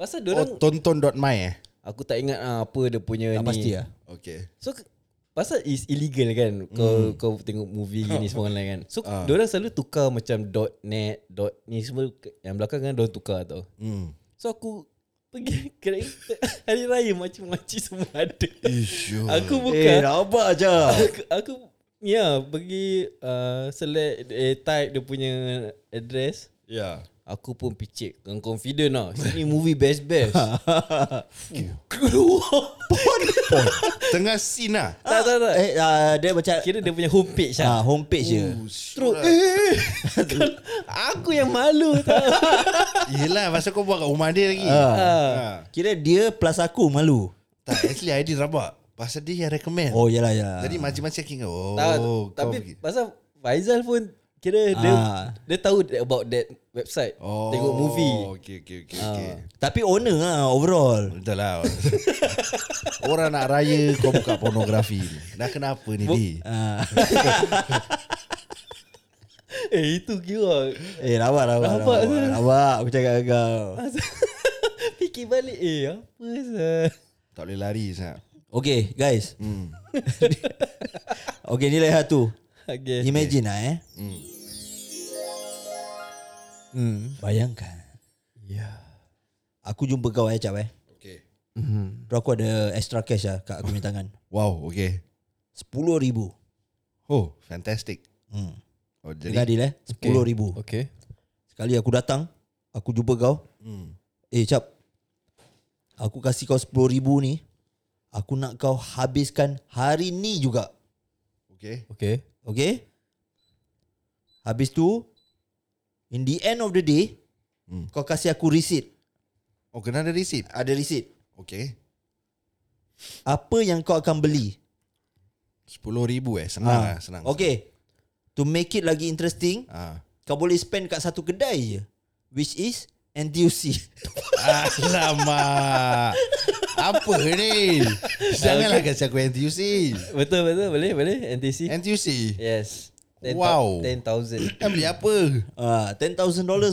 S3: Pasal
S2: Oh
S3: diorang, oh,
S2: tonton.my eh
S3: aku tak ingat ah, apa dia punya
S1: Tak
S3: ni.
S1: pasti lah
S2: Okay
S3: So k- pasal is illegal kan kau
S1: Hmm.
S3: kau tengok movie ni semua online kan. So uh.
S1: Ah.
S3: diorang selalu tukar macam .net, dot ni semua ke- yang belakang kan diorang tukar tau.
S2: hmm.
S3: So aku pergi kereta hari raya macam-macam semua ada.
S2: Ish, yo.
S3: Aku buka.
S1: Eh rabak je
S3: aku, aku ya pergi uh, select eh, type dia punya address.
S2: Ya
S3: Aku pun picit Dengan confident lah Sini movie best best Keluar
S2: Tengah scene lah
S3: Tak tak tak
S1: Eh uh, dia macam
S3: Kira dia punya homepage
S1: ah,
S3: lah
S1: Homepage je
S2: Terus
S3: Aku yang malu tau
S2: Yelah Pasal kau buat kat rumah dia lagi
S3: Ah.
S2: Ah.
S1: Kira dia plus aku malu
S2: Tak actually Aidil rabak Pasal dia yang recommend
S1: Oh yelah yelah
S2: Jadi macam-macam king Oh
S3: Tak,
S2: kau
S3: Tapi
S2: pergi.
S3: pasal Faizal pun Kira dia
S1: Ah.
S3: Dia tahu about that website
S2: Oh
S3: Tengok movie Ah.
S2: Okay okay okay, okay.
S1: Tapi owner lah overall
S2: Betul lah Orang nak raya Kau buka pornografi ni Dah kenapa ni Di
S1: Ah,
S3: Eh itu kira
S1: eh rabak rabak
S3: Rabak
S1: rabak,
S3: tu.
S1: rabak, aku cakap dengan kau
S3: Fikir balik Eh apa sah
S2: Tak boleh lari sangat
S1: Okay guys Okay nilai satu
S3: Okay
S1: Imagine lah eh hmm. Bayangkan
S3: Ya
S1: Aku jumpa kau eh Cap eh
S2: Okay Hmm.
S1: Terus aku ada extra cash lah Kat aku punya tangan
S2: Wow okay
S1: RM10,000
S2: Oh fantastic
S1: hmm.
S2: Oh
S1: Dengan
S2: jadi
S1: adil eh RM10,000
S3: Okay
S1: Sekali aku datang Aku jumpa kau
S2: hmm.
S1: Eh Cap Aku kasih kau RM10,000 ni Aku nak kau habiskan hari ni juga
S2: Okay
S3: Okay
S1: Okay Habis tu In the end of the day
S2: Hmm.
S1: Kau kasih aku receipt
S2: Oh kena ada receipt
S1: Ada receipt
S2: Okay
S1: Apa yang kau akan beli
S2: RM10,000 eh Senang
S1: Ah,
S2: lah senang
S1: Okay To make it lagi interesting
S2: Ah.
S1: Kau boleh spend kat satu kedai je Which is NTUC
S2: Alamak Apa ni Janganlah kasi aku NTUC
S3: Betul betul boleh boleh NTC
S2: NTUC
S3: Yes.
S2: Eh. Wow.
S3: 10,000.
S2: Nak Kan beli apa
S1: Ah, $10,000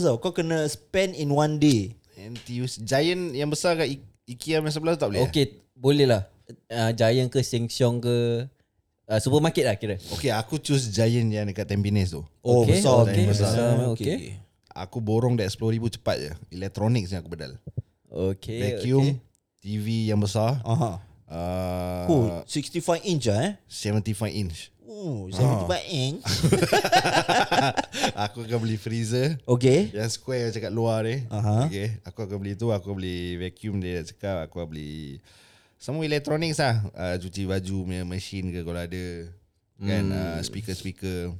S1: tau Kau kena spend in one day
S2: NTUC Giant yang besar kat I- IKEA yang sebelah tu tak boleh eh?
S3: Okay, boleh lah. Uh, Giant ke Sheng Siong ke uh, supermarket lah kira.
S2: Okay aku choose Giant yang dekat Tampines tu
S1: Oh
S3: Okay,
S1: besar
S3: okay,
S1: ni.
S3: besar.
S1: Ah,
S3: Okay.
S2: Eh, Aku borong that 10,000 cepat je Electronics yang aku bedal
S3: Okay.
S2: Vacuum TV yang besar
S1: Aha.
S2: uh,
S1: Oh 65 inch ah eh
S2: 75 inch
S1: Oh 75 inch
S2: Aku akan beli freezer
S1: Okay
S2: Yang square yang cakap luar ni
S1: Aha.
S2: okay. Aku akan beli tu Aku beli vacuum dia cakap Aku beli Semua electronics lah uh, Cuci baju punya machine ke Kalau ada Kan uh, speaker-speaker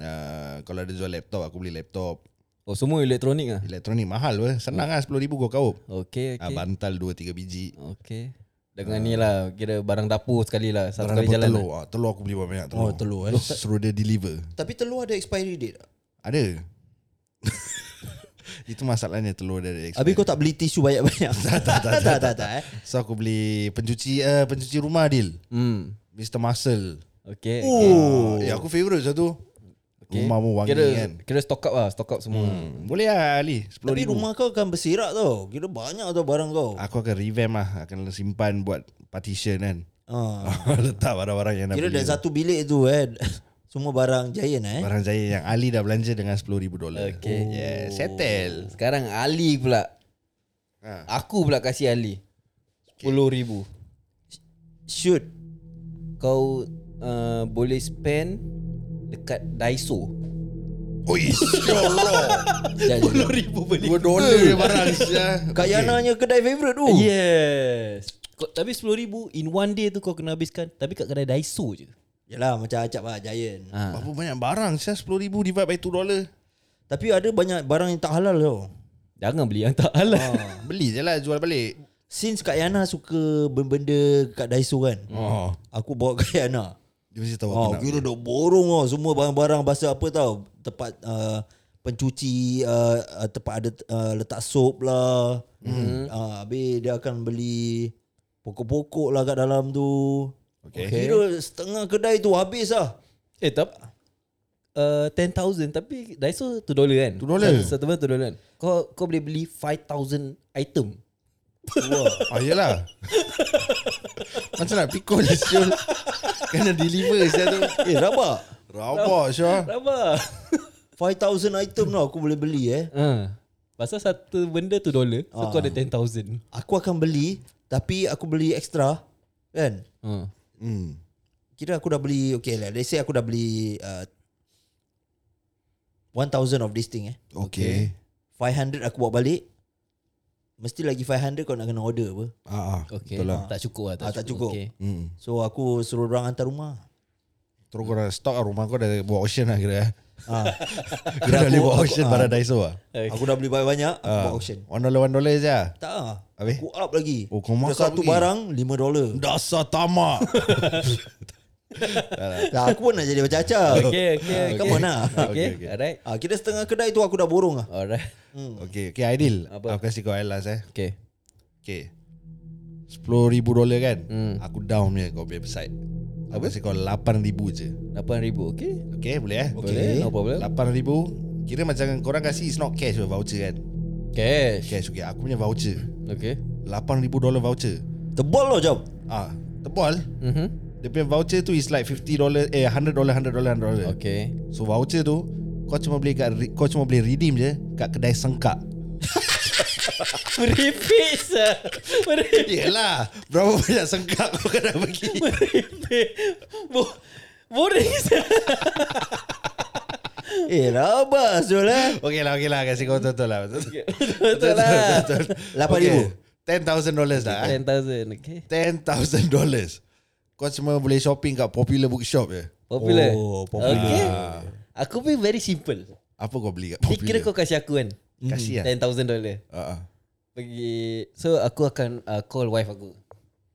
S2: uh, Kalau ada jual laptop Aku beli laptop
S3: Oh, semua elektronik ah.
S2: Elektronik mahal pun Senang lah RM10,000 kau kaup
S3: Okay,
S2: okay.
S3: okay.
S2: Bantal 2-3 biji
S3: Okay. Dengan ni lah kira barang dapur sekali lah satu
S2: Ah. Barang
S3: kali
S2: apa
S3: jalan.
S2: telur ah, Telur aku beli banyak telur
S1: Oh, telur, eh.
S2: Suruh dia deliver
S1: Tapi telur ada expiry date tak?
S2: Ada Itu masalahnya telur dari expired.
S1: Habis kau tak beli tisu banyak-banyak Tak tak tak tak, tak, tak, eh.
S2: So aku beli pencuci uh, pencuci rumah Adil
S3: Lah. Hmm.
S2: Mr. Muscle
S3: Okay.
S2: Oh Ya aku favourite satu
S3: okay.
S2: Rumah mu wangi
S3: kira,
S2: kan
S3: Kira stock up lah, stock up semua.
S2: Boleh lah Ali
S1: Tapi
S2: RM10,000
S1: rumah kau akan berserak tau Kira banyak tau barang kau
S2: Aku akan revamp lah Akan simpan buat partition kan
S1: ah.
S2: Letak barang-barang yang nak
S1: Kira
S2: beli
S1: dah satu bilik tu eh Semua barang giant eh
S2: Barang saya yang Ali dah belanja dengan RM10,000
S3: Okay.
S2: Oh, yeah,
S3: Oh.
S2: Settle
S3: Sekarang Ali pula.
S2: ha.
S3: Aku pula kasih Ali. Sepuluh ribu.
S1: Shoot
S3: Kau uh, boleh spend dekat Daiso.
S2: Oi, you're wrong.
S1: Dan,
S3: ribu beli.
S2: Dua dolar je barang sia.
S1: Kak Yana punya kedai favourite tu
S3: Yes. Kau, tapi RM10,000 in one day tu kau kena habiskan. Tapi kat kedai Daiso je.
S1: Yalah macam acap lah Giant
S3: Ha.
S2: Berapa banyak barang sia 10000 divide by 2 dolar.
S1: Tapi ada banyak barang yang tak halal tau
S3: Jangan beli yang tak halal.
S2: Beli je lah jual balik.
S1: Since Kak Yana suka benda-benda kat Daiso kan
S2: Oh.
S1: Aku bawa Kak Yana
S2: Dia mesti tahu
S1: Oh,
S2: aku nak.
S1: kira dah borong oh. Semua barang-barang bahasa apa tau Tempat uh, pencuci uh, uh, Tempat ada uh, letak soap lah hmm. uh, Habis dia akan beli Pokok-pokok lah kat dalam tu
S2: Okay.
S1: Kira setengah kedai tu habis lah
S3: eh tak. Uh, 10,000 tapi Daiso 2 dolar kan? 2
S2: $2.
S3: Satu benda 2 dolar kan? Kau, kau boleh beli 5,000 item.
S2: Ah yelah Macam nak pikul je Syul Kena deliver saya tu
S1: Eh rabak
S2: Rabak Syul
S3: Berapa?
S1: 5,000 item tau aku boleh beli eh
S3: ha. Pasal satu benda tu dolar. So kau ada 10,000.
S1: Aku akan beli Tapi aku beli extra Kan
S3: Ha.
S2: hmm.
S1: Kira aku dah beli Okay lah Let's say aku dah beli uh, 1,000 of this thing eh
S2: Okay
S1: 500 aku bawa balik Mesti lagi 500 kau nak kena order apa
S2: ah, ah.
S3: Okay.
S2: Betul lah
S3: Tak cukup lah. Tak,
S1: Ah, tak cukup.
S3: Okay.
S2: hmm.
S1: So aku suruh orang hantar rumah
S2: Terus kau dah stock lah rumah kau dah buat auction lah kira
S1: ah,
S2: Kau dah boleh buat auction
S1: ah.
S2: barang Daiso lah
S1: Aku dah beli banyak-banyak Aku
S2: Ah.
S1: buat auction
S2: One dollar one dollar je lah
S1: Tak lah
S2: Habis?
S1: Aku up lagi
S2: Oh, kau mark up
S1: Satu
S2: lagi.
S1: barang 5 dolar
S2: Dasar tamak
S1: Dah aku pun nak jadi macam acap
S3: Okay, okay,
S2: Eh,
S3: okay.
S1: Come on lah
S3: Okay, okay.
S2: Ah, okay.
S3: alright.
S1: ah, Kira setengah kedai tu aku dah borong lah
S3: Alright.
S2: Okay Okay Aidil
S3: Apa?
S2: Aku kasih kau Ailas eh
S3: Okay.
S2: Okay RM10,000 dolar kan Aku down punya kau punya side Aku kasih kau RM8,000 je
S3: 8,000, okay?
S2: Okay boleh eh
S3: Boleh, no problem.
S2: 8,000 Kira macam korang kasih It's not cash voucher kan
S3: Cash.
S2: Cash okay Aku punya voucher
S3: Okay.
S2: 8,000 dolar voucher
S1: Tebal lah jom
S2: Ah, Tebal
S3: Mm-hmm.
S2: Dia punya voucher tu is like 50 dolar Eh 100 dolar 100 dolar 100 dolar okay.
S3: Okay.
S2: So voucher tu Kau cuma boleh kat, re- Kau cuma boleh redeem je Kat kedai sengkak
S3: Meripis lah. Meripis.
S2: Yelah Berapa banyak sengkak kau kena pergi
S3: Meripis. Bo boring sah.
S1: Eh rabak Zul eh
S2: Okay lah okay lah Kasih kau betul-betul lah Betul-betul
S3: Betul lah.
S2: Okay,
S1: 8,000
S2: 10,000 dollars lah eh.
S3: 10,000, okay.
S2: $10,000 Kau cuma boleh shopping kat popular bookshop je
S3: Popular.
S1: Oh, popular.
S3: Okay. Aku pun very simple.
S2: Apa kau beli kat
S3: Ni
S2: popular
S3: kira kau kasih aku kan?
S2: Kasih
S1: Ya.
S2: lah
S3: $10,000 dollar.
S2: uh-uh.
S3: Pergi. So, aku akan uh, call wife aku.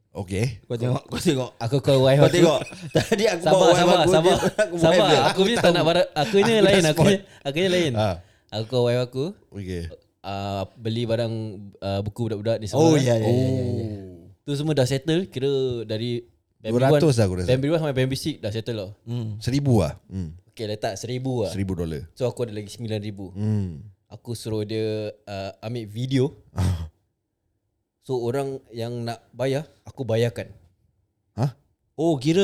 S2: Okay
S1: Kau tengok Kau tengok
S3: Aku call wife
S1: Kau
S3: aku.
S1: tengok Tadi aku
S3: Sabar,
S1: bawa
S3: sabar,
S1: aku,
S3: sabar.
S1: dia- aku bawa
S3: Sabar.
S1: dia.
S3: Aku punya tak nak barang. Aku punya
S2: Aku dah
S3: lain. Aku
S2: spot.
S3: punya- Aku punya lain.
S2: Ah.
S3: Aku call wife aku.
S2: Okay
S3: Uh, beli barang uh, buku budak-budak ni semua.
S1: Oh
S3: kan. Oh.
S1: ya ya ya, ya, ya.
S3: Tu semua dah settle Kira dari Bambi
S2: 200
S3: one-
S2: lah aku rasa.
S3: Bambi 1 sampai Bambi 6 Dah settle lah
S2: Seribu lah hmm.
S3: Okay letak 1000 lah
S2: Seribu dolar
S3: So aku ada lagi 9000
S2: hmm.
S3: Aku suruh dia uh, Ambil video So orang yang nak bayar Aku bayarkan
S2: Hah?
S1: Oh kira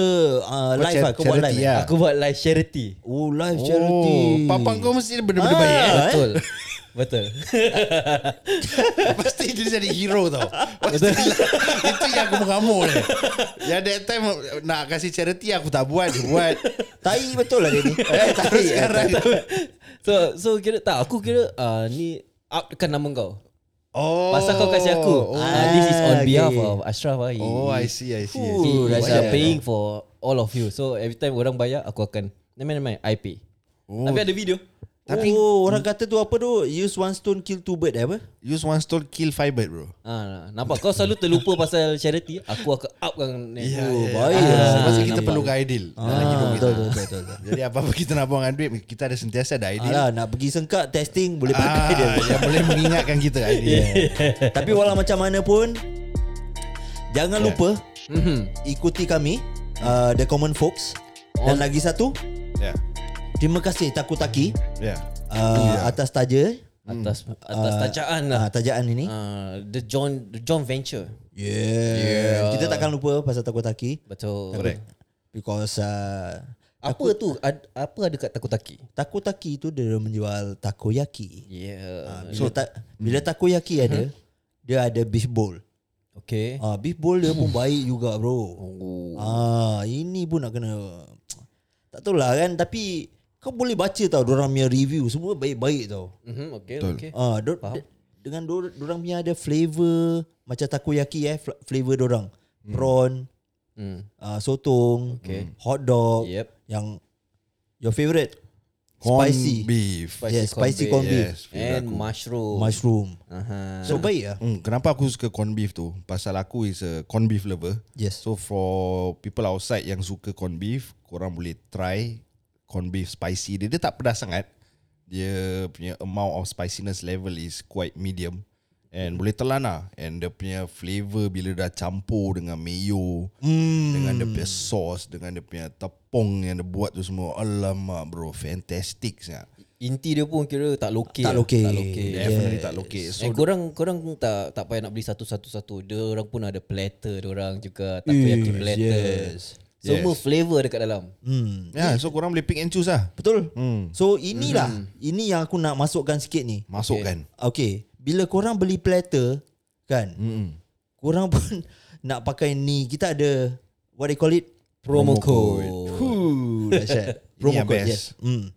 S2: Kau
S1: uh, live
S2: cha-
S1: lah Kau buat
S2: charity
S1: live eh?
S2: lah.
S3: Aku buat live charity
S1: Oh live
S2: Oh,
S1: charity
S2: Papang kau mesti benda-benda baik eh.
S1: Ah,
S3: Betul Betul
S2: Pasti dia jadi hero tau Pasti lah. Itu yang aku mengamuk ni Yang that time Nak kasih charity Aku tak buat Dia buat
S1: Tai betul lah dia ni eh, Tai
S2: Sekarang
S3: So so kira tak Aku kira uh, Ni Upkan nama kau
S2: Oh
S3: Pasal kau kasih aku
S2: Oh,
S3: Ah, This is on
S1: okay.
S3: behalf of Ashraf lah. He-
S2: oh I see I see, I see.
S3: He
S1: Ooh,
S3: is
S1: Rajab.
S3: uh, paying for all of you. So every time orang bayar, aku akan. Nama nama I pay.
S2: Oh.
S3: Tapi ada video.
S1: Tapi oh, orang kata tu apa tu Use one stone kill two bird eh, apa
S2: Use one stone Kill five bird bro
S3: Ah, nampak kau selalu terlupa pasal charity. Aku akan kan. upkan next. Yeah.
S2: Ya,
S1: Oh baik lah.
S2: Ah, Sebab kita perlukan ideal Dalam hidup kita
S1: Betul betul betul, betul.
S2: Jadi apa-apa kita nak buang duit Kita ada sentiasa ada ideal
S1: Alah nak pergi sengkak testing boleh pakai
S2: ah,
S1: dia
S2: Yang boleh mengingatkan kita ideal
S1: Tapi walau macam mana pun Jangan lupa Ikuti kami uh, The Common Folks Dan lagi satu
S2: Ya
S1: Terima kasih Takutaki
S2: Ya
S1: uh, Atas taja
S3: Atas
S2: Hmm.
S3: atas
S1: Ah,
S3: tajaan lah.
S1: uh, Tajaan ini
S3: Ah, the John the John Venture.
S1: Yeah. Kita takkan lupa pasal Takutaki
S3: Betul.
S2: Correct
S1: because uh,
S3: Apa tu? Ad, apa ada kat Takutaki?
S1: takoyaki tu dia menjual takoyaki.
S2: Ah.
S3: Yeah.
S1: Bila, so, ta- bila takoyaki ada, dia ada beef bowl.
S3: Okay.
S1: Ah beef bowl dia pun baik juga bro.
S3: Eh. Oh.
S1: Ah ini pun nak kena tak tahulah lah kan tapi Kau boleh baca tau Diorang punya review Semua baik-baik tau
S3: Mm-hmm, okay, okay.
S1: Ah, dor- de- Dengan dor- dorang punya ada flavor Macam takoyaki eh fla- Flavor dorang Prawn
S3: Mm.
S1: uh, Sotong okay. Hot dog
S3: Yep.
S1: Yang Your favourite
S2: Corn
S1: Spicy
S2: beef.
S1: Yeah, spicy corn beef
S2: Yes, favourite
S3: And
S2: aku.
S3: mushroom.
S1: Mushroom
S3: Aha.
S1: So baik lah
S2: Hmm, kenapa aku suka corn beef tu? Pasal aku is a corn beef lover.
S1: Yes
S2: So for people outside yang suka corn beef, korang boleh try corn beef spicy. Dia, dia tak pedas sangat. Dia punya amount of spiciness level is quite medium. And boleh telan lah. And dia punya flavour bila dah campur dengan mayo, mm. dengan dia punya sauce, dengan dia punya tepung yang dia buat tu semua. Alamak bro, fantastic sangat.
S3: Inti dia pun kira tak lokal.
S1: Tak lokek.
S3: Tak lokal.
S1: Yeah.
S2: Definitely tak lokek.
S3: So eh, korang korang tak tak payah nak beli satu-satu-satu. Dia orang pun ada platter dia orang juga takoyaki
S1: Yes,
S3: platter.
S1: yes.
S3: Semua flavor dekat dalam.
S1: hmm.
S2: Yeah, so korang boleh pick and choose lah.
S1: Betul hmm. So inilah Ini yang aku nak masukkan sikit ni
S2: Masukkan.
S1: Okay Bila korang beli platter Kan
S2: Mm-mm.
S1: Korang pun Nak pakai ni Kita ada What they call it
S3: Promo code.
S1: Ooh, Dahsyat Promo
S2: yang best.
S1: code yes. mm.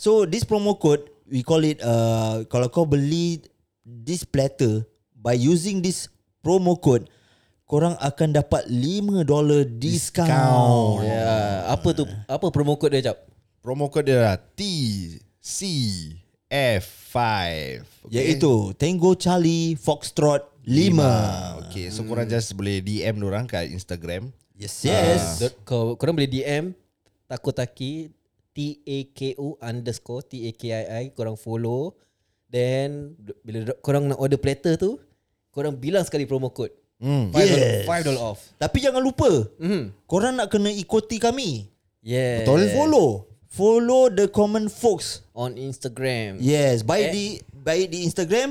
S1: So this promo code We call it uh, Kalau kau beli This platter By using this Promo code Korang akan dapat $5 discount, discount.
S3: Ya, apa tu?
S1: Ah.
S3: Apa promo code dia, Cap?
S2: Promo code dia lah TCF5.
S1: Okay. Iaitu Tango Charlie Foxtrot 5.
S2: Okay, so korang just boleh DM orang kat Instagram.
S1: Yes, yes.
S3: Yes. Ah. Kau korang boleh DM Takotaki T A K O underscore T A K I I korang follow then d- bila d- korang nak order platter tu korang bilang sekali promo code.
S2: Hmm.
S3: Five dollar-
S1: Yes.
S3: five dollar off.
S1: Tapi jangan lupa,
S3: Mhm.
S1: korang nak kena ikuti kami.
S3: Yeah.
S1: Betul. Follow. Follow the common folks.
S3: On Instagram.
S1: Yes, baik di baik di Instagram,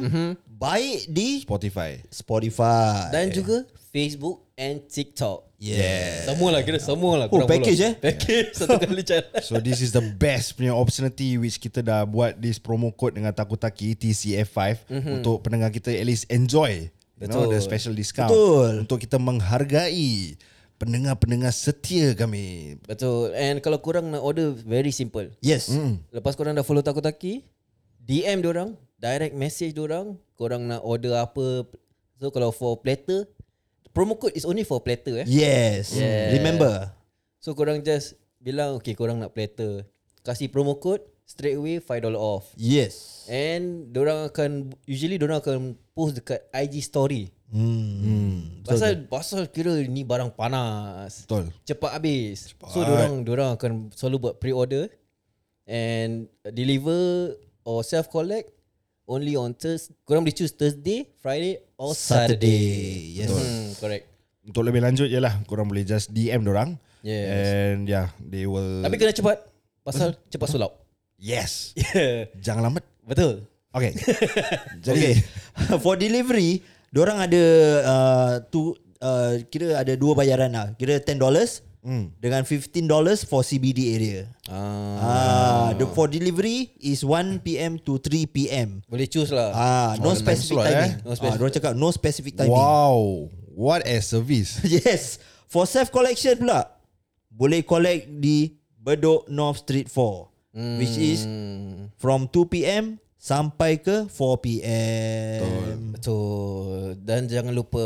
S1: baik di
S2: Spotify.
S1: Spotify.
S3: Dan juga Facebook and TikTok.
S1: Yeah.
S3: Semua lah kira semua lah.
S1: Oh,
S3: korang
S1: package,
S3: follow.
S1: eh?
S3: Package satu kali cara.
S2: So this is the best punya opportunity which kita dah buat this promo code dengan Takutaki TCF5 mm-hmm. untuk pendengar kita at least enjoy you know, the
S3: Betul.
S2: special discount
S1: Betul.
S2: untuk kita menghargai pendengar-pendengar setia kami.
S3: Betul. And kalau korang nak order very simple.
S1: yes.
S2: Mm.
S3: Lepas korang dah follow Takotaki DM diorang Direct message diorang Korang nak order apa So kalau for platter Promo code is only for platter eh
S1: Yes. Remember.
S3: So korang just Bilang okay korang nak platter Kasih promo code Straight away $5 off
S1: Yes.
S3: And Diorang akan Usually diorang akan Post dekat IG story
S2: Mm.
S1: Hmm.
S3: Pasal Pasal kira ni barang panas
S2: Betul.
S3: cepat habis. Cepat. So orang orang akan selalu buat pre-order and deliver or self collect only on Thursday. Korang boleh choose Thursday, Friday or Oh, Saturday.
S1: Saturday. Yes.
S3: Hmm, correct.
S2: Untuk lebih lanjut ialah korang boleh just DM orang
S3: Yes.
S2: and yeah they will
S3: Tapi kena cepat pasal cepat sulap.
S2: yes
S3: Yeah.
S2: jangan lambat.
S3: Betul.
S2: Okay.
S1: Okay.
S2: Jadi
S1: For delivery, orang ada uh, tu uh, kira ada dua bayaran lah. Kira $10 mm. dengan $15 for CBD area.
S3: Ah,
S1: Ah, the for delivery is 1 PM to 3 PM.
S3: boleh choose lah.
S1: Ah, no specific
S2: slot, eh?
S1: timing.
S3: No
S1: Ah,
S3: specific-
S1: orang cakap no specific timing.
S2: Wow, what a service.
S1: Yes. For self collection pula boleh collect di Bedok North Street 4 mm. which is
S3: Hmm,
S1: from 2 PM sampai ke 4 PM.
S3: betul. Dan jangan lupa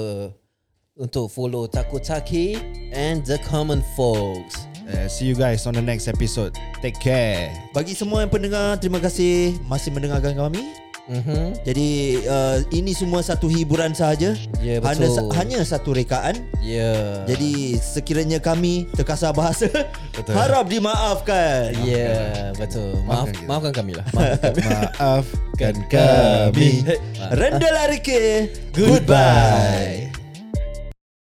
S3: untuk follow Takotaki and the common folks.
S2: Uh, see you guys on the next episode. Take care.
S1: Bagi semua yang pendengar terima kasih masih mendengarkan kami.
S3: Mhm.
S1: Jadi uh, ini semua satu hiburan sahaja.
S3: Ya,
S1: hanya,
S3: betul.
S1: hanya satu rekaan.
S3: Yeah.
S1: Jadi sekiranya kami terkasar bahasa harap dimaafkan.
S3: Ya, yeah, betul. Maaf,
S2: Maafkan kita.
S3: maafkan kami lah. Maafkan kami.
S2: Maafkan kan kami.
S1: Rendah lari ke. Goodbye.